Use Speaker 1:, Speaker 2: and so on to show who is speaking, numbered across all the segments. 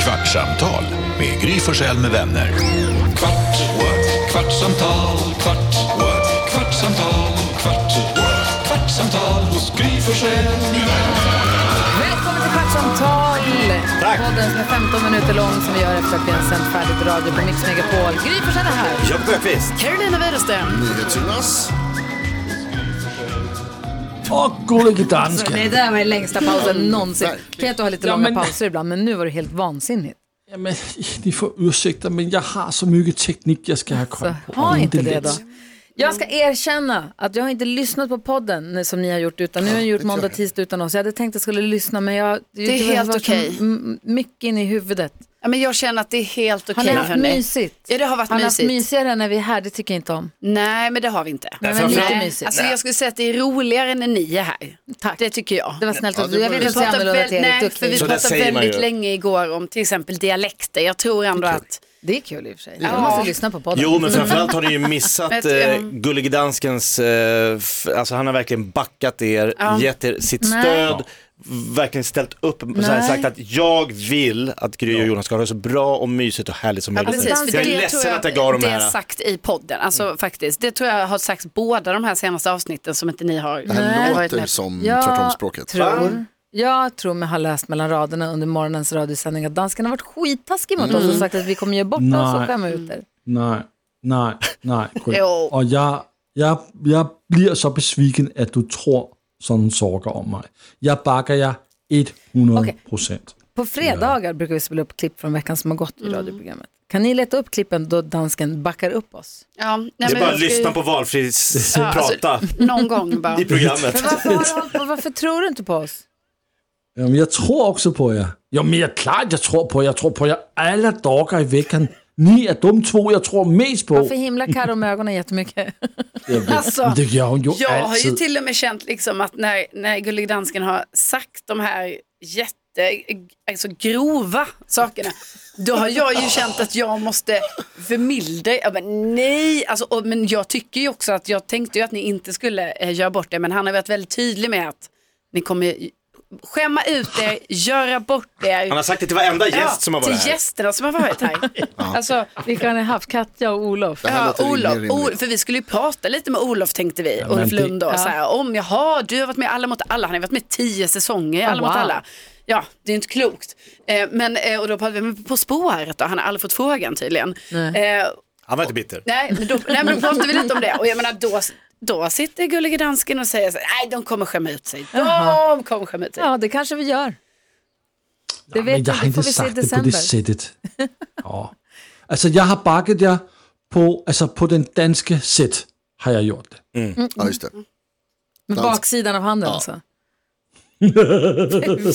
Speaker 1: kvartsamtal med Gry Forssell med vänner. Kvart, what? kvartsamtal, kvart, what? kvartsamtal, kvart, what? kvartsamtal hos Gry Forssell med vänner.
Speaker 2: Välkommen till Kvartsamtal!
Speaker 3: Tack.
Speaker 2: Podden som är 15 minuter lång som vi gör efter att vi har sänt färdigt radio på Mix Megapol. Gry Forssell är här.
Speaker 3: Jakob Öqvist.
Speaker 2: Carolina Widerström.
Speaker 4: NyhetsJonas.
Speaker 5: Och gullige danske.
Speaker 2: Det där var den längsta pausen någonsin. Peter har lite
Speaker 5: Ja,
Speaker 2: långa
Speaker 5: men-
Speaker 2: pauser ibland, men nu var det helt vansinnigt.
Speaker 5: Jamen, ni får ursäkta, men jag har så mycket teknik jag ska ha koll på.
Speaker 2: Ha
Speaker 5: Och
Speaker 2: inte det
Speaker 5: lätt.
Speaker 2: då. Jag ska erkänna att jag har inte lyssnat på podden eh, som ni har gjort, utan nu har jag gjort måndag, tisdag utan oss. Jag hade tänkt att jag skulle lyssna, men jag...
Speaker 6: är helt okej.
Speaker 2: Mycket in i huvudet.
Speaker 6: Ja, men jag känner att det är helt
Speaker 2: Har
Speaker 6: okej.
Speaker 2: ni haft
Speaker 6: hörni.
Speaker 2: mysigt?
Speaker 6: Ja, det har varit
Speaker 2: Har ni haft
Speaker 6: mysigt.
Speaker 2: mysigare när vi är här? Det tycker jag inte om.
Speaker 6: Nej, men det har vi inte.
Speaker 2: Nej, men lite mysigt.
Speaker 6: Alltså, jag skulle säga att det är roligare när ni är här.
Speaker 2: Tack.
Speaker 6: Det tycker jag.
Speaker 2: Det var snällt
Speaker 4: Ja,
Speaker 2: av
Speaker 4: det
Speaker 2: dig. Jag
Speaker 4: var-
Speaker 2: vill
Speaker 4: Vi
Speaker 2: inte säga annorlunda till Erik.
Speaker 6: nej, för
Speaker 2: Duktig.
Speaker 6: vi
Speaker 4: Så där
Speaker 6: pratade
Speaker 4: säger man
Speaker 6: väldigt
Speaker 4: ju.
Speaker 6: länge igår om till exempel dialekter. Jag tror ändå att
Speaker 2: Det är kul i och för sig. Jag måste lyssna på podden.
Speaker 3: Jo, men framförallt har ni ju missat
Speaker 6: Men,
Speaker 3: eh,
Speaker 6: ja.
Speaker 3: Gullige Danskens, eh, f- alltså han har verkligen backat er, gett er sitt stöd, verkligen ställt upp och så här
Speaker 2: Nej.
Speaker 3: sagt att jag vill att Gry och Jonas ska ha det så bra och mysigt och härligt som
Speaker 6: Ja,
Speaker 3: möjligt.
Speaker 6: precis, för
Speaker 3: jag är
Speaker 6: tror
Speaker 3: ledsen att jag gav de
Speaker 6: det är
Speaker 3: här. Mm.
Speaker 6: sagt i podden, alltså faktiskt. Det tror jag har sagts båda de här senaste avsnitten som inte ni har
Speaker 4: Det här
Speaker 6: varit
Speaker 4: låter
Speaker 6: med
Speaker 4: som
Speaker 2: Jag
Speaker 4: tvärtomspråket.
Speaker 2: Tror, jag tror mig ha läst mellan raderna under morgonens radiosändning att danskarna har varit skittaskiga mot oss och sagt att vi kommer ge bort oss och
Speaker 5: Mm. Nej.
Speaker 2: skämma ut er.
Speaker 5: Nej, nej, nej. Gry.
Speaker 6: Jo.
Speaker 5: Och jag, jag, jag blir så besviken att du tror sådana saker om mig. Jag backar jag 100 procent.
Speaker 2: På fredagar brukar vi spela upp klipp från veckan som har gått i radioprogrammet. Kan ni leta upp klippen då dansken backar upp oss?
Speaker 6: Ja, nej,
Speaker 3: Det är bara att
Speaker 6: jag ska ju-
Speaker 3: lyssna på valfri s-
Speaker 6: alltså-
Speaker 3: prata
Speaker 6: Någon gång bara.
Speaker 3: i programmet.
Speaker 2: Men varför, har du hållit på, varför tror du inte på oss?
Speaker 5: Jamen, jag tror också på jer. Jo, men jag, klart jag tror på jer. Jag tror på er alla dagar i veckan. Ni är de två jag tror mest på.
Speaker 2: Varför himlar Carro med ögonen jättemycket?
Speaker 5: Jag vet.
Speaker 6: Alltså,
Speaker 5: det gör hon ju
Speaker 6: Jag har ju
Speaker 5: alltid.
Speaker 6: till och med känt liksom att när, när Gullig Dansken har sagt de här jätte, alltså grova sakerna, då har jag ju känt att jag måste förmildra. Jag bara, nej, alltså, och, men jag tycker ju också att jag tänkte ju att ni inte skulle eh, göra bort det, men han har varit väldigt tydlig med att ni kommer skämma ut er, göra bort er.
Speaker 3: Han har sagt det till varenda gäst
Speaker 6: Ja,
Speaker 3: som har varit
Speaker 6: till
Speaker 3: här.
Speaker 6: gästerna som har varit här. alltså,
Speaker 2: Vilka har ni haft? Katja och Olof?
Speaker 4: Det här
Speaker 6: Ja,
Speaker 4: låter
Speaker 6: Olof,
Speaker 4: mer
Speaker 6: Ol-
Speaker 4: rimligt.
Speaker 6: för vi skulle ju prata lite med Olof tänkte vi,
Speaker 5: men
Speaker 6: Olof
Speaker 5: det-
Speaker 6: Lund då, så här, om jaha, du har varit med i Alla mot alla, han har varit med i tio säsonger i Alla mot
Speaker 2: wow.
Speaker 6: alla. Ja, det är inte klokt. Eh, men, eh, och då pratade vi men På spåret då, han har aldrig fått frågan tydligen. Nej, eh,
Speaker 3: Han var inte bitter.
Speaker 6: nej, men, då, nej men då pratade vi lite om det och jag menar då, då sitter Gullige Dansken och säger så här, nej de kommer skämma ut sig, de kommer skämma ut sig.
Speaker 2: Ja, det kanske vi gör. Det
Speaker 5: Men
Speaker 2: vet
Speaker 5: jag
Speaker 2: jag,
Speaker 5: har
Speaker 2: det får
Speaker 5: inte
Speaker 2: vi se i
Speaker 5: sagt det på det
Speaker 2: december.
Speaker 5: sättet. Ja. Alltså jag har backat jer på, alltså, på den danske sätt har jag gjort det.
Speaker 4: Ja, just det.
Speaker 2: Med baksidan av handen alltså.
Speaker 3: Lite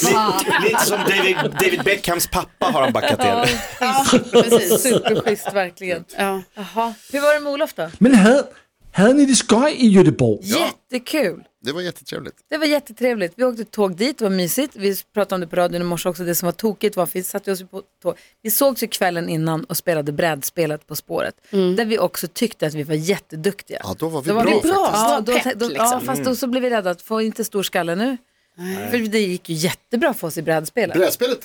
Speaker 3: som David, David Beckhams pappa har han backat er.
Speaker 6: Ja, precis.
Speaker 2: Superschysst verkligen.
Speaker 6: Ja.
Speaker 2: Jaha. Hur var det med Olof då?
Speaker 5: Men hade, hade ni det skoj i Göteborg?
Speaker 2: Jättekul.
Speaker 4: Det var jättetrevligt.
Speaker 2: Det var jättetrevligt. Vi åkte tåg dit, det var mysigt. Vi pratade om det på radion i morse också, det som var tokigt var, för vi satte oss på tåg. Vi sågs ju kvällen innan och spelade brädspelet På spåret. Där vi också tyckte att vi var jätteduktiga.
Speaker 4: Ja, då var vi
Speaker 2: Då var
Speaker 4: bra
Speaker 2: vi
Speaker 4: faktiskt. Mm.
Speaker 6: bra.
Speaker 2: Ja,
Speaker 6: Fast
Speaker 2: då,
Speaker 6: det var
Speaker 2: tän-
Speaker 6: pepp,
Speaker 2: då, ja,
Speaker 6: liksom.
Speaker 2: fast då så blev vi rädda att få inte stor skalle nu. För det gick ju jättebra för oss i brädspelet.
Speaker 4: Brädspelet,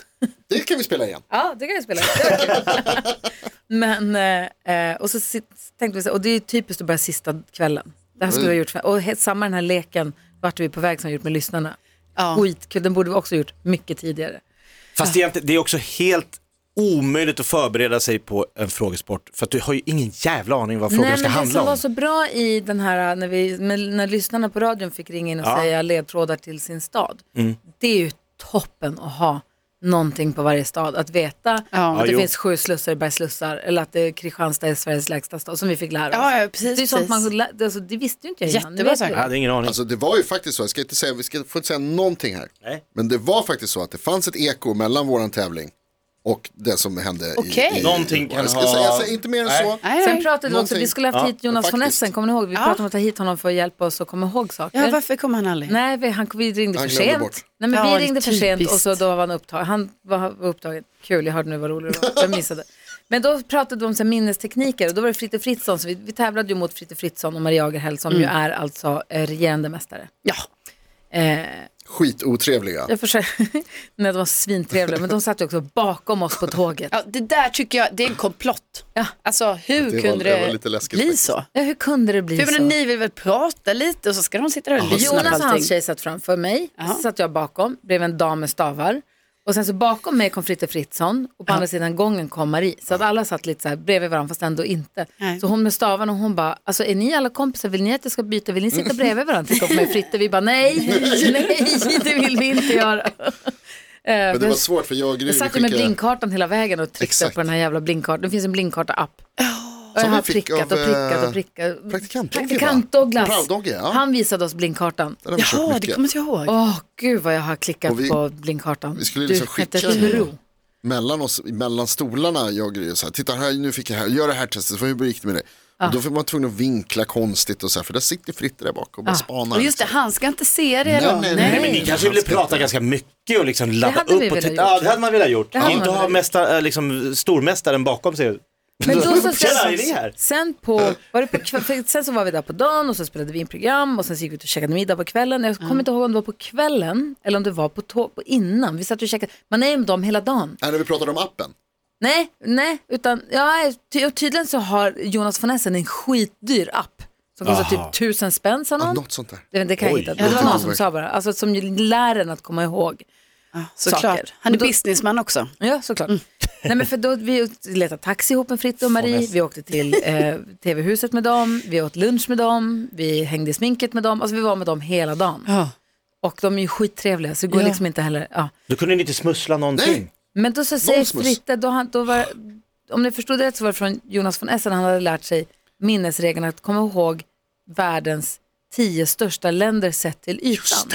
Speaker 4: det kan vi spela igen.
Speaker 2: Ja, det kan jag spela. Det var kul. Men, eh, eh, och så sit- tänkte vi så här, och det är ju typiskt att börja sista kvällen. Det här skulle vi ha gjort, för- och he- samma den här leken vart vi på väg som vi gjort med lyssnarna.
Speaker 6: Ja.
Speaker 2: Skitkul, den borde vi också gjort mycket tidigare.
Speaker 3: Fast egentligen, det är också helt omöjligt att förbereda sig på en frågesport för att du har ju ingen jävla aning vad frågan
Speaker 2: Nej,
Speaker 3: ska
Speaker 2: men det
Speaker 3: handla
Speaker 2: som var
Speaker 3: om.
Speaker 2: så bra i den här, äh, när, vi, med, när lyssnarna på radion fick ringa in och säga ledtrådar till sin stad.
Speaker 3: Mm.
Speaker 2: Det är ju toppen att ha någonting på varje stad. Att veta
Speaker 6: Ja.
Speaker 2: att det
Speaker 3: Ja, jo.
Speaker 2: finns sju slussar i Bergsslussar eller att det är Kristianstad är Sveriges lägsta stad som vi fick lära oss.
Speaker 6: Ja, ja, precis,
Speaker 2: det är sånt man,
Speaker 6: precis.
Speaker 2: lä- det- alltså, det visste ju inte jag innan. Nu
Speaker 6: Jättebra
Speaker 2: vet
Speaker 6: sagt.
Speaker 2: jag.
Speaker 3: Jag hade ingen aning.
Speaker 4: Alltså det var ju faktiskt så, jag ska inte säga, vi ska, får inte säga någonting här.
Speaker 3: Nej.
Speaker 4: Men det var faktiskt så att det fanns ett eko mellan våran tävling och det som hände
Speaker 6: Okej.
Speaker 4: i, i...
Speaker 3: Någonting kan
Speaker 4: jag ska
Speaker 3: ha-
Speaker 4: säga, jag säger inte mer än
Speaker 3: Nej.
Speaker 4: så.
Speaker 6: Nej,
Speaker 2: Sen
Speaker 6: nej.
Speaker 2: pratade vi också,
Speaker 4: Någonting.
Speaker 2: vi skulle haft
Speaker 3: Ja,
Speaker 2: hit Jonas von
Speaker 4: faktiskt.
Speaker 2: Essen, kommer ni ihåg? Vi pratade om att ta hit honom för att hjälpa oss att komma ihåg saker.
Speaker 6: Ja, varför kommer han aldrig?
Speaker 2: Nej, vi, han, vi ringde för
Speaker 4: Han glömde
Speaker 2: sent.
Speaker 4: bort.
Speaker 2: Nej, men
Speaker 6: Ja,
Speaker 2: vi
Speaker 6: det är
Speaker 2: ringde för sent
Speaker 6: typiskt.
Speaker 2: och så då var han upptagen. Han var, var upptagen. Kul, jag hörde nu vad rolig det var. Jag missade. Men då pratade vi om så här, minnestekniker och då var det Fritte Fritzson. Så vi, vi tävlade ju mot
Speaker 6: Mm.
Speaker 2: Fritte Fritzson och Maria Agerhäll som ju är alltså eh, regerande mästare.
Speaker 6: Ja.
Speaker 2: Eh,
Speaker 4: Skitotrevliga.
Speaker 2: Jag försöker, nej de var svintrevliga, men de satt ju också bakom oss på tåget.
Speaker 6: Ja, det där tycker jag, det är en komplott.
Speaker 2: Ja.
Speaker 6: Alltså hur
Speaker 4: Det var-
Speaker 6: kunde
Speaker 4: det var
Speaker 6: det,
Speaker 4: lite läskigt
Speaker 6: bli
Speaker 4: faktiskt.
Speaker 6: så?
Speaker 2: Ja, hur kunde det bli
Speaker 6: För jag
Speaker 2: så?
Speaker 6: menar, ni vill väl prata lite och så ska de sitta där och lyssna på
Speaker 2: Jonas och hans
Speaker 6: allting.
Speaker 2: tjej satt framför mig,
Speaker 6: Ja.
Speaker 2: så satt jag bakom, blev en dam med stavar. Och sen så bakom mig kom Fritte Fritzson och på andra sidan gången kom Marie. Så att alla satt lite så här bredvid varandra fast ändå inte.
Speaker 6: Nej.
Speaker 2: Så hon med stavarna och hon bara, alltså är ni alla kompisar, vill ni att jag ska byta, vill ni sitta bredvid varandra? Titta på mig och Fritte, vi bara nej, nej, det vill vi inte göra. Eh,
Speaker 4: Men det var svårt för jag och Gry
Speaker 2: jag satt ju med blindkartan hela vägen och tryckte
Speaker 4: Exakt.
Speaker 2: på den här jävla blindkartan. Det finns en blindkarta-app. Och jag
Speaker 4: Som
Speaker 2: har
Speaker 4: vi fick
Speaker 2: prickat och
Speaker 4: av,
Speaker 2: prickat och
Speaker 4: eh,
Speaker 2: prickat.
Speaker 4: praktikant Dogge,
Speaker 2: Praktikant
Speaker 4: va?
Speaker 2: Douglas.
Speaker 4: Proud-Dogge, ja.
Speaker 2: Han visade oss blindkartan.
Speaker 4: Den har vi kört
Speaker 6: Jaha, det
Speaker 4: mycket.
Speaker 6: kommer inte jag ihåg.
Speaker 2: Åh, gud vad jag har klickat
Speaker 4: Och vi-
Speaker 2: på blindkartan.
Speaker 4: vi skulle liksom
Speaker 2: du kan inte
Speaker 4: skicka den.
Speaker 2: tro.
Speaker 4: mellan oss, mellan stolarna, jag och Gry, så här, titta här, nu fick jag här, gör det här testet, för hur gick det med det? Och då får man tvungen att vinkla konstigt och så här, för där sitter Fritte där bak och bara spanar.
Speaker 6: Och just det,
Speaker 4: liksom.
Speaker 6: han ska inte se det
Speaker 4: Nej,
Speaker 6: då.
Speaker 4: nej,
Speaker 3: Nej, men ni kanske ville
Speaker 4: Han ska
Speaker 3: prata
Speaker 4: inte.
Speaker 3: ganska mycket och liksom ladda
Speaker 2: hade vi
Speaker 3: upp och
Speaker 2: velat
Speaker 3: titta.
Speaker 2: gjort.
Speaker 3: Ja, det hade man velat gjort.
Speaker 2: Det hade
Speaker 3: Inte
Speaker 2: man
Speaker 3: ha
Speaker 2: velat
Speaker 3: mästa, liksom, stormästaren bakom sig.
Speaker 2: Men då så
Speaker 3: Tjena, är ni här?
Speaker 2: sen, sen, på, var det på kväll, för sen så var vi där på dagen och så spelade vi in program och sen så gick vi ut och käkade middag på kvällen. Jag
Speaker 4: Mm.
Speaker 2: kommer inte ihåg om det var på kvällen eller om det var på, tå- på innan. Vi satt och käkade, man är ju med dem hela dagen.
Speaker 4: Nej, när vi pratade om appen.
Speaker 2: Nej, nej, utan ja, ty- och tydligen så har Jonas von Essen en skitdyr app som kostar typ tusen spänn sa
Speaker 4: Ja,
Speaker 2: någon.
Speaker 4: något sånt där.
Speaker 2: Det, det kan jag hitta. Det
Speaker 4: låter
Speaker 2: var någon som
Speaker 4: overkligt.
Speaker 2: sa bara, alltså som ju lär en att komma ihåg.
Speaker 6: Såklart.
Speaker 2: saker.
Speaker 6: Han är Mm.
Speaker 2: Men då-
Speaker 6: businessman också.
Speaker 3: Mm.
Speaker 2: Ja, såklart. Nej, men för då, vi letade taxi ihop med Fritte och Marie, vi åkte till eh, TV-huset med dem, vi åt lunch med dem, vi hängde i sminket med dem, alltså vi var med dem hela dagen.
Speaker 6: Ja.
Speaker 2: Och de är ju skittrevliga så det går liksom inte heller, ja.
Speaker 3: Då kunde ni inte smussla någonting.
Speaker 4: Nej.
Speaker 2: Men då så säger
Speaker 4: Nonsmus.
Speaker 2: Fritte, då han, då var, om ni förstod det rätt så var det från Jonas von Essen, han hade lärt sig minnesregeln att komma ihåg världens tio största länder sett till ytan.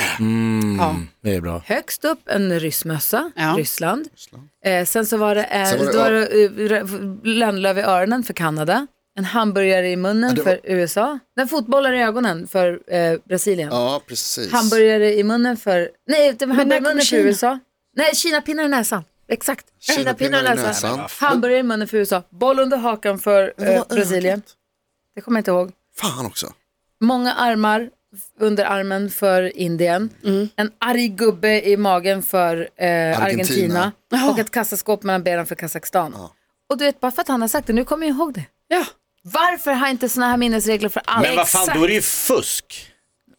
Speaker 6: Ja.
Speaker 3: Det är bra.
Speaker 2: Högst upp en ryssmössa,
Speaker 6: Ja.
Speaker 2: Ryssland. Eh, sen så var det, eh,
Speaker 4: Sen var det
Speaker 2: då var det, eh, lönnlöv i öronen för Kanada. En hamburgare i munnen
Speaker 4: det
Speaker 2: för USA. En fotbollare i ögonen för eh, Brasilien.
Speaker 4: Ja, precis.
Speaker 2: Hamburgare i munnen för... Nej, det var hamburgare i
Speaker 6: kommer
Speaker 2: munnen för
Speaker 6: Kina?
Speaker 2: USA. Nej, kinapinnar i näsan. Exakt. Kinapinnar i näsan.
Speaker 4: näsan.
Speaker 2: Hamburgare i munnen för USA. Boll under hakan för
Speaker 4: var
Speaker 2: eh,
Speaker 4: ögat.
Speaker 2: Brasilien. Det kommer jag inte ihåg.
Speaker 4: Fan också.
Speaker 2: Många armar f- under armen för Indien. En arg gubbe i magen för eh, Argentina. Och ett kassaskåp mellan benen för Kazakstan. Och du vet, bara för att han har sagt det, nu kommer jag ihåg det.
Speaker 6: Ja.
Speaker 2: Varför har jag inte såna här minnesregler för alla?
Speaker 3: Men vad fan, då är det ju fusk.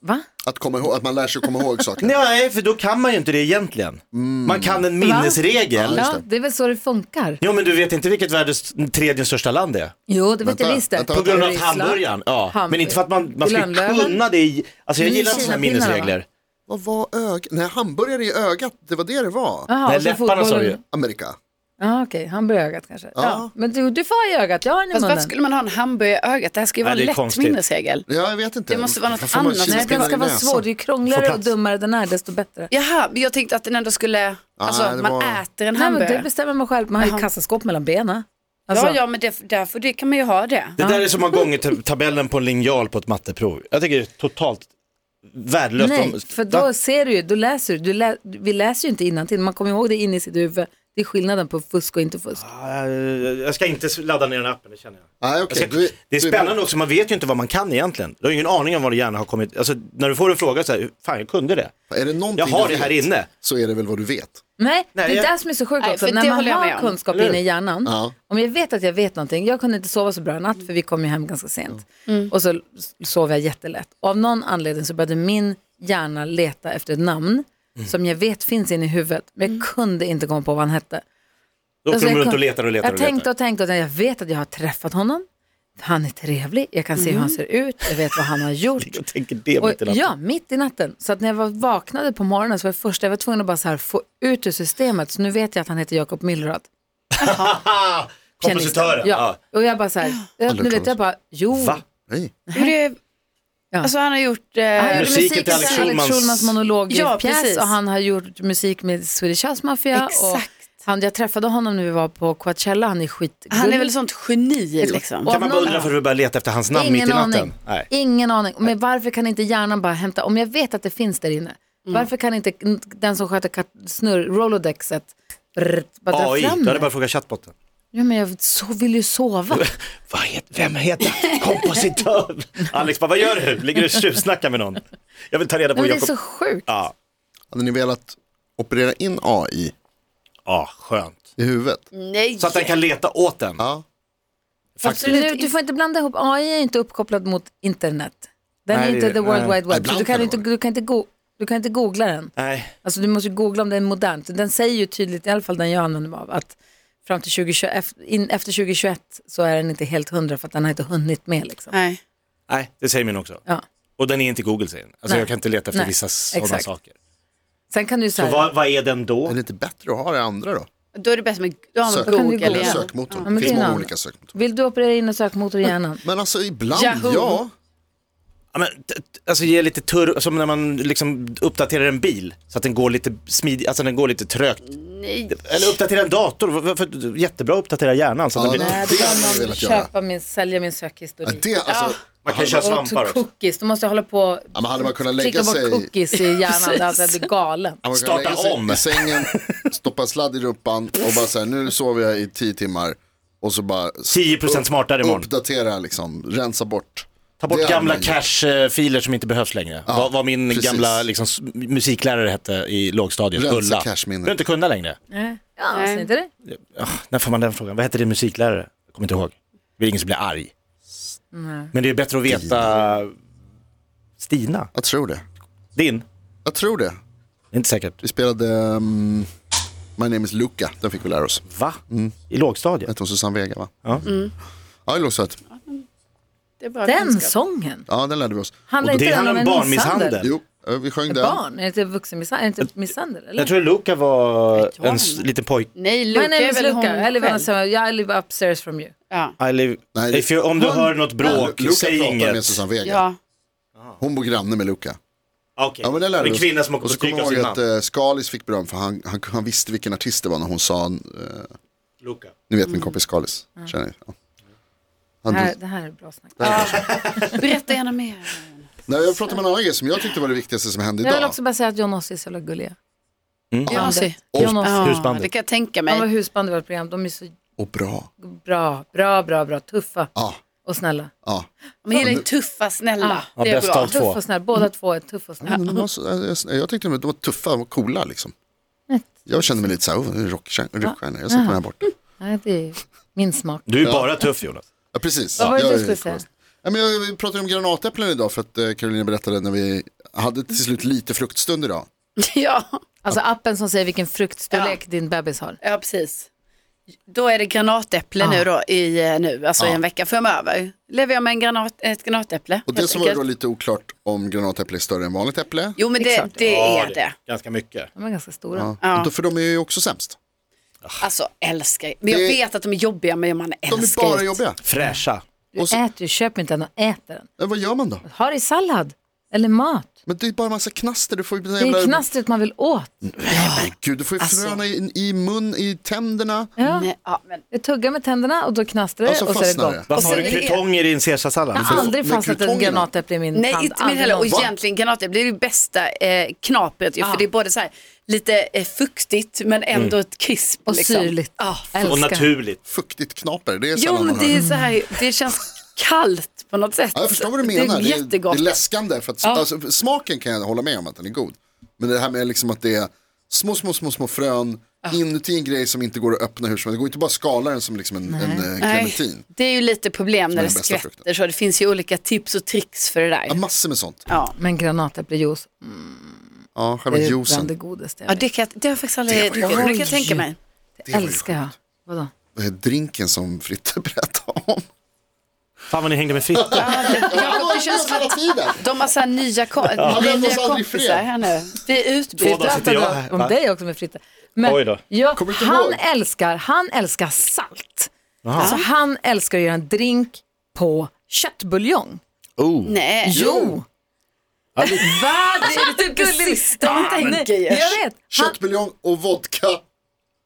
Speaker 2: Va?
Speaker 4: Att, komma ihåg, att man lär sig att komma ihåg saker.
Speaker 3: Nej, för då kan man ju inte det egentligen. Man kan en minnesregel.
Speaker 2: Mm. Ja, det är väl så det funkar.
Speaker 3: Jo, men du vet inte vilket världens tredje största land är?
Speaker 2: Jo, det vet
Speaker 4: Vänta,
Speaker 2: jag visst det.
Speaker 4: vänta,
Speaker 3: På grund av
Speaker 2: Ryssland.
Speaker 3: hamburgaren. Ja.
Speaker 2: Hamburg-
Speaker 3: Men inte för att man, man skulle
Speaker 2: Lönnlöven.
Speaker 3: kunna det i... Alltså jag
Speaker 2: Men
Speaker 3: gillar inte sådana
Speaker 2: Kinapinnar, va?
Speaker 3: minnesregler.
Speaker 4: Vad var ögat? Nej, hamburgare i ögat, det var det det var.
Speaker 2: Jaha,
Speaker 3: Nej,
Speaker 2: och så
Speaker 3: läpparna sa du ju.
Speaker 2: fotbollen.
Speaker 4: Amerika.
Speaker 2: Ja, okej, han börjar ögat kanske. Ja.
Speaker 4: Ja.
Speaker 2: Men du, du får ha i ögat, jag har en i
Speaker 6: Fast
Speaker 2: munnen.
Speaker 6: varför skulle man ha en hamburgare i ögat? Det här ska ju
Speaker 3: Nej,
Speaker 6: vara
Speaker 3: det är
Speaker 6: en lätt
Speaker 3: konstigt.
Speaker 6: minnesregel.
Speaker 4: Ja, jag vet inte.
Speaker 6: Det måste vara något
Speaker 4: Varför får man
Speaker 6: annat.
Speaker 2: Nej, den
Speaker 4: kinapinnar
Speaker 2: ska
Speaker 4: i
Speaker 2: vara
Speaker 4: näsan?
Speaker 2: svår. Ju
Speaker 3: Få
Speaker 2: krångligare och
Speaker 3: plats.
Speaker 2: dummare den är, desto bättre.
Speaker 6: Jaha, men jag tänkte att den ändå skulle, alltså
Speaker 4: Nej, det
Speaker 6: man
Speaker 4: var-
Speaker 6: äter en
Speaker 2: Nej, men
Speaker 6: hamburgare.
Speaker 2: det bestämmer man själv. Man har ju
Speaker 6: Jaha.
Speaker 2: kassaskåp mellan benen. Alltså,
Speaker 6: ja, ja, men det, därför det kan man ju ha det.
Speaker 3: Det där är som att ha gångit tabellen på en linjal på ett matteprov. Jag tycker det är totalt värdelöst.
Speaker 2: Nej,
Speaker 3: De-
Speaker 2: för
Speaker 3: Va?
Speaker 2: då ser du ju, då läser du. du lä, vi läser ju inte innantill, man kommer ihåg det in i sitt huvud. Det är skillnaden på fusk och inte fusk.
Speaker 3: Ja, Ah, Jag ska inte ladda ner den appen, det känner jag.
Speaker 4: Nej,
Speaker 3: jag
Speaker 4: okej.
Speaker 3: ska,
Speaker 4: Du
Speaker 3: det är
Speaker 4: du
Speaker 3: spännande också, man vet ju inte vad man kan egentligen. Du har ju ingen aning om vad du gärna har kommit... Alltså, när du får en fråga så här, fan jag kunde det.
Speaker 4: Är det någonting
Speaker 3: Jag har
Speaker 4: du
Speaker 3: det här
Speaker 4: vet,
Speaker 3: inne.
Speaker 4: Så är det väl vad du vet.
Speaker 2: Nej,
Speaker 3: Nej,
Speaker 2: det är
Speaker 3: jag-
Speaker 2: det som är så sjukt
Speaker 6: Nej,
Speaker 2: också.
Speaker 6: för
Speaker 2: När
Speaker 6: det
Speaker 2: man
Speaker 6: håller jag med
Speaker 2: har
Speaker 6: om.
Speaker 2: kunskap
Speaker 3: Eller hur?
Speaker 2: inne i hjärnan,
Speaker 4: Ja.
Speaker 2: om jag vet att jag vet någonting, jag kunde inte sova så bra i natt för vi kom ju hem ganska sent.
Speaker 6: Mm.
Speaker 2: Och så s- sov jag jättelätt. Och av någon anledning så började min hjärna leta efter ett namn
Speaker 3: Mm.
Speaker 2: som jag vet finns inne i huvudet, men
Speaker 6: Mm.
Speaker 2: jag kunde inte komma på vad han hette.
Speaker 3: Då åker
Speaker 2: Alltså,
Speaker 3: de
Speaker 2: jag
Speaker 3: runt
Speaker 2: kun-
Speaker 3: och letar och letar
Speaker 2: Jag
Speaker 3: och letar.
Speaker 2: tänkte och tänkte och tänkte, jag vet att jag har träffat honom, han är trevlig, jag kan se hur han
Speaker 6: Mm.
Speaker 2: ser ut, jag vet vad han har gjort.
Speaker 3: Jag tänker det
Speaker 2: Och,
Speaker 3: mitt i natten.
Speaker 2: ja, mitt i natten. Så att när jag var vaknade på morgonen så var jag först, jag var tvungen att bara så här få ut ur systemet. Så nu vet jag att han heter Jakob Millrad.
Speaker 3: Ah, kompositören.
Speaker 2: Ja.
Speaker 3: Ja.
Speaker 2: Och jag bara så här, jag, nu vet jag bara, jo.
Speaker 3: Va?
Speaker 4: Nej.
Speaker 6: Men det
Speaker 2: Ja.
Speaker 6: Alltså han har gjort...
Speaker 2: Han
Speaker 6: Eh,
Speaker 2: gjorde
Speaker 3: Musiken till
Speaker 2: musiken
Speaker 3: Alex Schulmans-
Speaker 6: Ja,
Speaker 2: monologpjäs
Speaker 6: precis.
Speaker 2: och han har gjort musik med Swedish House Mafia. Och
Speaker 6: Exakt.
Speaker 2: han, jag träffade honom när vi var på Coachella, han är skitgullig.
Speaker 6: han är väl sånt geni liksom.
Speaker 2: Och-
Speaker 3: Kan man bara undra för att du börjar leta efter hans namn mitt i
Speaker 2: Ingen
Speaker 3: natten?
Speaker 2: aning.
Speaker 3: Nej.
Speaker 2: Ingen aning. Men varför kan inte hjärnan bara hämta, om jag vet att det finns där inne,
Speaker 3: Mm.
Speaker 2: varför kan inte den som sköter kat- snurr, rolodexet, brr, bara dra
Speaker 3: AI,
Speaker 2: fram
Speaker 3: du hade
Speaker 2: det?
Speaker 3: bara frågat chattbotten.
Speaker 2: Ja, men jag så vill ju sova.
Speaker 3: Vad heter, vem heter kompositör? Alex bara, vad gör du? Ligger du och tjuvsnackar med någon? Jag vill ta reda på
Speaker 2: Nej, men det är så
Speaker 3: Jakob-
Speaker 2: sjukt.
Speaker 3: Ja.
Speaker 4: Hade ni velat operera in AI
Speaker 3: Ja, skönt.
Speaker 4: i huvudet?
Speaker 2: Mm.
Speaker 6: Nej.
Speaker 3: Så att den kan leta åt den.
Speaker 4: Ja.
Speaker 2: Absolut. Nu, du får inte blanda ihop, AI är inte uppkopplad mot internet. Den
Speaker 3: Nej,
Speaker 2: är inte
Speaker 3: det-
Speaker 2: the world
Speaker 3: nej.
Speaker 2: wide web. Så
Speaker 4: Ibland
Speaker 2: du,
Speaker 4: kan
Speaker 2: kan
Speaker 4: det
Speaker 2: inte,
Speaker 4: vara
Speaker 2: du, kan inte go, du kan inte googla den.
Speaker 3: Nej,
Speaker 2: Alltså du måste ju googla om den är modern. Så Den säger ju tydligt, i alla fall den jag använder mig av, att fram till 2021, ef- in, efter 2021 så är den inte helt hundra för att den har inte hunnit med. Liksom.
Speaker 6: Nej.
Speaker 3: nej, det säger min också.
Speaker 2: Ja.
Speaker 3: Och den är inte Google säger den. Alltså
Speaker 2: Nej.
Speaker 3: jag kan inte leta efter
Speaker 2: Nej,
Speaker 3: vissa sådana
Speaker 2: exakt.
Speaker 3: saker.
Speaker 2: Sen kan du ju så
Speaker 3: Så
Speaker 2: här,
Speaker 3: vad, vad är den
Speaker 4: Är
Speaker 3: då?
Speaker 4: det inte bättre att ha det andra då?
Speaker 6: Då är det bäst med då har man
Speaker 4: Sök-
Speaker 6: Google
Speaker 2: Eller
Speaker 4: Eller
Speaker 6: igen.
Speaker 4: sökmotor.
Speaker 2: men
Speaker 4: det
Speaker 2: det är
Speaker 4: finns många
Speaker 2: en
Speaker 4: olika
Speaker 2: annan.
Speaker 4: sökmotorer.
Speaker 2: vill du operera in en sökmotor i hjärnan?
Speaker 4: Men alltså ibland,
Speaker 6: Yahoo.
Speaker 4: ja.
Speaker 3: Ja, men, t- t- alltså ge lite turr, som när man liksom uppdaterar en bil. Så att den går lite smidigt, alltså den går lite trögt.
Speaker 6: Nej.
Speaker 3: Eller uppdatera en dator, varför, jättebra att uppdatera hjärnan. Så att
Speaker 4: Ja,
Speaker 3: den blir...
Speaker 4: nej.
Speaker 2: Nej,
Speaker 4: det
Speaker 2: då
Speaker 4: hade jag
Speaker 2: kan man
Speaker 4: velat göra.
Speaker 2: köpa min, sälja min
Speaker 4: Ja,
Speaker 2: sökhistorik.
Speaker 4: Det, alltså,
Speaker 3: Man kan köra
Speaker 2: Och
Speaker 3: svampar
Speaker 2: to
Speaker 3: också.
Speaker 2: cookies, då måste jag hålla på och
Speaker 4: Ja, men hade man kunnat lägga
Speaker 2: klicka bort
Speaker 4: sig-
Speaker 2: cookies i hjärnan, alltså jag blir galen.
Speaker 4: man kan
Speaker 3: Starta
Speaker 4: lägga sig
Speaker 3: om.
Speaker 4: I sängen, stoppa en sladd i rumpan och bara så här, nu sover jag i tio timmar. Och så bara
Speaker 3: 10% smartare imorgon.
Speaker 4: uppdatera liksom, rensa bort.
Speaker 3: Ta bort
Speaker 4: Det hade
Speaker 3: gamla
Speaker 4: man gjort.
Speaker 3: cash-filer som inte behövs längre. vad, vad min
Speaker 4: precis.
Speaker 3: gamla liksom, s- musiklärare hette i lågstadiet,
Speaker 4: Rensa
Speaker 3: Ulla.
Speaker 4: cashminnet.
Speaker 3: Du inte kunna längre.
Speaker 2: Nej. Ja, ser inte det?
Speaker 3: Ah, när får man den frågan? Vad hette din musiklärare? Jag kommer inte ihåg. Det är ingen som blir arg. Men det är bättre att veta Stina.
Speaker 4: Jag tror det.
Speaker 3: Din?
Speaker 4: Jag tror det.
Speaker 3: Det är Inte säkert.
Speaker 4: Vi spelade um, My name is Luca, den fick vi lära oss.
Speaker 3: Va?
Speaker 4: Mm.
Speaker 3: I lågstadiet?
Speaker 4: Hette hon Susanne Vega va? Mm.
Speaker 3: Ja.
Speaker 4: Ja, det låter söt.
Speaker 6: Det är bra
Speaker 2: Den
Speaker 6: kunskap.
Speaker 2: sången,
Speaker 4: Ja, den lärde vi oss.
Speaker 2: handlar
Speaker 3: Och
Speaker 2: inte
Speaker 3: det
Speaker 2: den
Speaker 3: handlar
Speaker 2: om
Speaker 3: om
Speaker 2: en misshandel?
Speaker 3: barnmisshandel.
Speaker 4: Jo, eh, vi sjöng den.
Speaker 2: Barn? Är det inte vuxenmisshandel? Är det inte misshandel? Eller?
Speaker 3: Jag tror Luca var
Speaker 6: tror
Speaker 3: en
Speaker 6: han.
Speaker 3: s- liten pojke.
Speaker 6: Nej, Luca
Speaker 2: My name
Speaker 6: är
Speaker 2: is
Speaker 6: väl hon
Speaker 2: Luca, eller vad han
Speaker 6: själv.
Speaker 2: sa, yeah, I live upstairs from you.
Speaker 6: Ja.
Speaker 3: I live...
Speaker 4: Nej,
Speaker 3: If you, om du
Speaker 2: hon-
Speaker 3: hör något bråk,
Speaker 4: Luca
Speaker 3: säg
Speaker 4: pratar
Speaker 3: inget.
Speaker 4: med Susanne Vega.
Speaker 6: ja.
Speaker 4: Hon bor granne med Luca.
Speaker 3: Okej,
Speaker 4: Ja, men det lärde vi
Speaker 3: en
Speaker 4: oss.
Speaker 3: kvinna som åker på
Speaker 4: Och så
Speaker 3: stryk
Speaker 4: kommer
Speaker 3: av
Speaker 4: jag
Speaker 3: sin
Speaker 4: ihåg att
Speaker 3: man.
Speaker 4: eh, Skalis fick beröm för han, han, han visste vilken artist det var när hon sa, eh,
Speaker 3: Luca.
Speaker 4: ni
Speaker 2: Mm.
Speaker 4: vet min kompis Skalis. Känner ni? Ja.
Speaker 2: Det
Speaker 4: Han,
Speaker 2: här, det här är bra snack.
Speaker 6: Berätta gärna mer.
Speaker 4: Nej, jag pratade med en annan grej som jag tyckte var det viktigaste som hände
Speaker 2: Jag vill
Speaker 4: idag.
Speaker 2: också bara säga att John och Ossi är så jävla gulliga.
Speaker 6: Ja,
Speaker 2: John och Ossi,
Speaker 3: Husbandet.
Speaker 6: det kan jag tänka
Speaker 2: de var
Speaker 6: mig.
Speaker 2: husband i vårt program, de är så
Speaker 4: Och bra.
Speaker 2: bra, bra, bra, bra, tuffa
Speaker 4: Ja,
Speaker 2: och snälla.
Speaker 4: ja.
Speaker 6: Men gillar ju tuffa, snälla.
Speaker 3: Ja,
Speaker 6: det är
Speaker 3: bäst
Speaker 6: bra.
Speaker 3: av två.
Speaker 2: Tuff och snäll,
Speaker 4: Mm.
Speaker 2: båda två är tuffa och snälla.
Speaker 4: Men de var så, eh, jag, jag tyckte de var tuffa och coola liksom. Jag kände mig lite så här, oh, rockstjärna, rockstjärna. jag sätter mig här borta.
Speaker 2: Nej, det är min smak.
Speaker 3: Du är bara tuff Jonas.
Speaker 4: Ja, precis.
Speaker 2: Vad var det
Speaker 4: Jag
Speaker 2: du
Speaker 4: är
Speaker 2: skulle
Speaker 4: coolast.
Speaker 2: säga?
Speaker 4: Ja, men jag, vi pratade om granatäpplen idag för att eh, Carolina berättade när vi hade till slut lite fruktstund idag.
Speaker 6: Ja.
Speaker 2: Alltså appen som säger vilken fruktstorlek din bebis har.
Speaker 6: ja, precis. Då är det granatäpple nu då, i, eh, nu, alltså i en vecka framöver. Lever jag med en granat, ett granatäpple.
Speaker 4: Och det
Speaker 6: helt
Speaker 4: som var då
Speaker 6: enkelt.
Speaker 4: lite oklart om granatäpple är större än vanligt äpple.
Speaker 6: Jo, men det,
Speaker 2: Exakt.
Speaker 6: det
Speaker 3: Ja,
Speaker 6: är det.
Speaker 3: Ganska mycket.
Speaker 2: De är ganska stora.
Speaker 4: Ja. Då- För de är ju också sämst.
Speaker 6: Alltså, älskar ju. Men jag
Speaker 4: Det-
Speaker 6: vet att de är jobbiga, men man
Speaker 4: De
Speaker 6: älskar
Speaker 4: är bara
Speaker 6: ju.
Speaker 4: jobbiga.
Speaker 3: Fräscha.
Speaker 2: Du
Speaker 4: Och så-
Speaker 2: äter ju, köp inte den och äter den.
Speaker 4: Men vad gör man då?
Speaker 2: Ha det i sallad eller mat.
Speaker 4: Men det är bara en massa knaster. Du får ju
Speaker 2: Det är ju knastret man vill åt.
Speaker 4: Mm. Gud, du får ju
Speaker 6: Alltså.
Speaker 4: fröna i, i mun, i tänderna.
Speaker 2: Ja.
Speaker 6: Nej, ja, men
Speaker 2: Jag tuggar med tänderna och då knastrar det
Speaker 4: Och så
Speaker 2: och så är det
Speaker 4: fastnar
Speaker 2: gott.
Speaker 4: det.
Speaker 3: Varför har
Speaker 6: sen
Speaker 3: du
Speaker 6: är det-
Speaker 3: krutonger i din caesarsallad?
Speaker 2: Jag har aldrig
Speaker 4: Men
Speaker 2: fastnat ett
Speaker 4: krutongerna?
Speaker 2: granatäpple i min
Speaker 6: Nej,
Speaker 2: hand.
Speaker 6: inte min
Speaker 2: Aldrig
Speaker 6: heller. Och
Speaker 2: någonsin.
Speaker 6: egentligen granatäpple är det bästa eh, knapet. Ju, För det är både så här, lite eh, fuktigt men
Speaker 4: Mm.
Speaker 6: ändå ett krisp.
Speaker 2: Och
Speaker 6: liksom.
Speaker 2: syrligt.
Speaker 6: Ja.
Speaker 3: Och
Speaker 2: Älskar.
Speaker 3: naturligt.
Speaker 4: Fuktigt knaper, det är
Speaker 6: Jo,
Speaker 4: sällan
Speaker 6: men
Speaker 4: man
Speaker 6: det, är
Speaker 4: hör.
Speaker 6: så här, det känns kallt på något sätt.
Speaker 4: Ja, jag förstår vad du menar.
Speaker 6: Det
Speaker 4: Det
Speaker 6: är
Speaker 4: är, det
Speaker 6: jättegott.
Speaker 4: är läskande. För att, alltså, smaken kan jag hålla med om att den är god. Men det här med liksom att det är små, små, små, små frön inuti en grej som inte går att öppna hur som helst. Det går inte bara att skala den som liksom en, en eh,
Speaker 6: Nej,
Speaker 4: clementin.
Speaker 6: det är ju lite problem när
Speaker 4: är
Speaker 6: det
Speaker 4: den bästa
Speaker 6: skvätter
Speaker 4: frukten.
Speaker 6: så det finns ju olika tips och tricks för det där.
Speaker 4: Ja, massor med sånt.
Speaker 6: Ja,
Speaker 2: Men granatäpplejuice,
Speaker 4: Ja, själva
Speaker 2: det är bland det
Speaker 4: juicen.
Speaker 2: godaste jag
Speaker 6: ja
Speaker 2: vet.
Speaker 6: det, kan, jag- det har jag faktiskt aldrig, det,
Speaker 4: ju
Speaker 6: kan
Speaker 2: sjukt.
Speaker 6: jag tänka mig.
Speaker 2: Det älskar jag. Vadå?
Speaker 4: Eh, Drinken som Fritte berättade om.
Speaker 3: Fan vad ni hängde med Fritte.
Speaker 6: Jakob, det känns som att
Speaker 4: tiden.
Speaker 6: de har så här nya, kom- nya,
Speaker 4: lämna oss aldrig i fred.
Speaker 6: kompisar här nu. Vi är
Speaker 3: Två dagar
Speaker 6: utbytta.
Speaker 3: sitter jag här,
Speaker 2: Om
Speaker 3: va?
Speaker 2: dig också med Fritte.
Speaker 3: Oj
Speaker 2: Men
Speaker 3: då.
Speaker 2: jag,
Speaker 4: Kommer inte
Speaker 2: han,
Speaker 4: ihåg.
Speaker 2: älskar, han älskar salt. Alltså han älskar att göra en drink på köttbuljong.
Speaker 6: Nej.
Speaker 2: Jo! Va? Det är lite gulligt.
Speaker 6: sista man tänker ju.
Speaker 2: Jag vet. Han,
Speaker 4: Köttbuljong och vodka.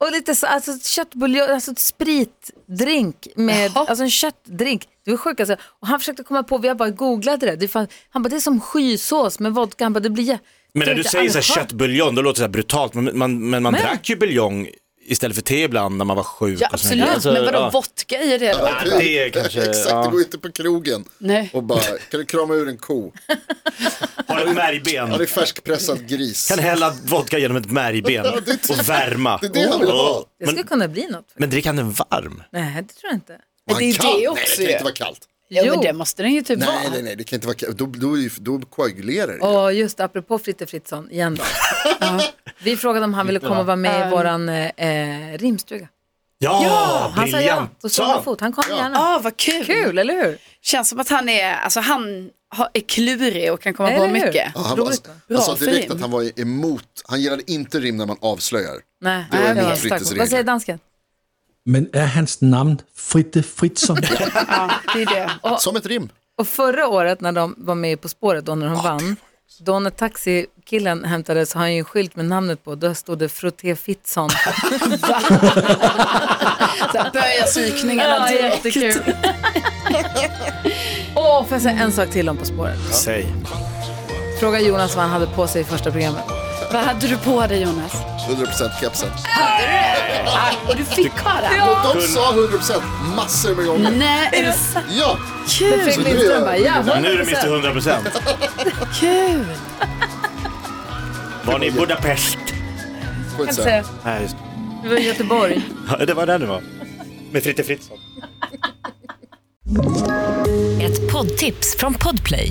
Speaker 2: och lite så, alltså köttbuljong, alltså ett spritdrink med,
Speaker 6: Jaha.
Speaker 2: alltså en köttdrink. Du är sjuk alltså. Och han försökte komma på, vi har bara googlat det där. Det fann, han bara, det är som skysås med vodka. Han bara, det blir jä-
Speaker 3: Men
Speaker 2: det
Speaker 3: när
Speaker 2: har
Speaker 3: du
Speaker 2: jag
Speaker 3: säger så
Speaker 2: aldrig
Speaker 3: här
Speaker 2: hört.
Speaker 3: köttbuljong, då låter det så här brutalt. Men man, men man
Speaker 2: Men-
Speaker 3: drack ju buljong istället för te ibland när man var sjuk.
Speaker 6: Ja
Speaker 3: och sånt där.
Speaker 6: absolut,
Speaker 3: Alltså,
Speaker 6: men vadå
Speaker 3: ja.
Speaker 6: vodka i det då?
Speaker 3: Ja, det är kanske,
Speaker 4: Typ. Exakt,
Speaker 3: ja.
Speaker 4: det går inte på krogen
Speaker 6: Nej.
Speaker 4: och bara, kan du krama ur en ko?
Speaker 3: Har ett
Speaker 4: Ja, det är
Speaker 3: märgben.
Speaker 4: färskpressad gris.
Speaker 3: Kan hälla vodka genom ett märgben
Speaker 4: det-
Speaker 3: och värma.
Speaker 4: det är det jag vill ha.
Speaker 3: Åh,
Speaker 2: Det
Speaker 3: Men,
Speaker 2: skulle kunna bli något.
Speaker 3: men drick han den varm?
Speaker 2: Nej, det tror jag inte.
Speaker 4: Och han
Speaker 6: Det är
Speaker 4: kall.
Speaker 6: det
Speaker 4: Nej, det
Speaker 6: också
Speaker 4: kan
Speaker 6: ju.
Speaker 4: inte vara kallt.
Speaker 6: Ja men
Speaker 2: Jo.
Speaker 6: det måste den ju typ
Speaker 4: Nej,
Speaker 6: vara.
Speaker 4: nej, nej, det kan inte vara kallt. Då, då, är ju- då koagulerar det.
Speaker 2: Och just apropå Fritte Fritzson, igen då. Ja. Vi frågade om han ville komma och vara med i våran eh, eh, rimstuga.
Speaker 3: Ja,
Speaker 2: Han sa ja,
Speaker 3: briljant!
Speaker 2: då slår han
Speaker 3: Så.
Speaker 2: fot. Han kommer gärna.
Speaker 6: Ja Ah, vad kul.
Speaker 2: Kul, eller hur?
Speaker 6: Känns som att han är, alltså han har- är klurig och kan komma
Speaker 2: Eller
Speaker 6: på
Speaker 2: hur?
Speaker 6: mycket.
Speaker 4: Ja, han,
Speaker 2: Roligt,
Speaker 4: var- alltså,
Speaker 2: va?
Speaker 4: han sa
Speaker 6: Bra för
Speaker 4: direkt
Speaker 6: rim.
Speaker 4: att han var emot, han gillade inte rim när man avslöjar.
Speaker 2: Nej,
Speaker 4: Det var
Speaker 2: nej,
Speaker 4: emot
Speaker 2: var
Speaker 4: Frittes
Speaker 2: starkt.
Speaker 4: regler.
Speaker 2: Vad säger dansken?
Speaker 5: Men är hans namn Fritte Fritzson?
Speaker 6: Ja, det är det.
Speaker 2: Och,
Speaker 4: Som ett rim.
Speaker 2: och förra året när de var med På spåret, då när de vann, då när taxikillen hämtades har han ju en skylt med namnet på, då stod det Frotté Fritzson.
Speaker 6: Så här, börjar
Speaker 2: Ja,
Speaker 6: psykningarna direkt.
Speaker 2: jättekul. Åh, får jag säga en sak till om På spåret?
Speaker 3: Säg.
Speaker 2: Fråga Jonas vad han hade på sig i första programmet.
Speaker 6: Vad hade du på dig Jonas?
Speaker 4: 100% kepsen.
Speaker 6: Och du fick ha den?
Speaker 4: De sa 100% massor med gånger.
Speaker 6: Nej, är det
Speaker 4: Ja,
Speaker 6: kul?
Speaker 2: Fredrik Lindström bara, ja,
Speaker 3: Nu är de inte 100 procent.
Speaker 6: Kul!
Speaker 3: Var ni i Budapest?
Speaker 4: på ett sätt.
Speaker 2: säga.
Speaker 3: Nej, just
Speaker 2: Vi var i Göteborg.
Speaker 3: det. det var där du var. Med Fritte Fritzson.
Speaker 7: Ett poddtips från Podplay.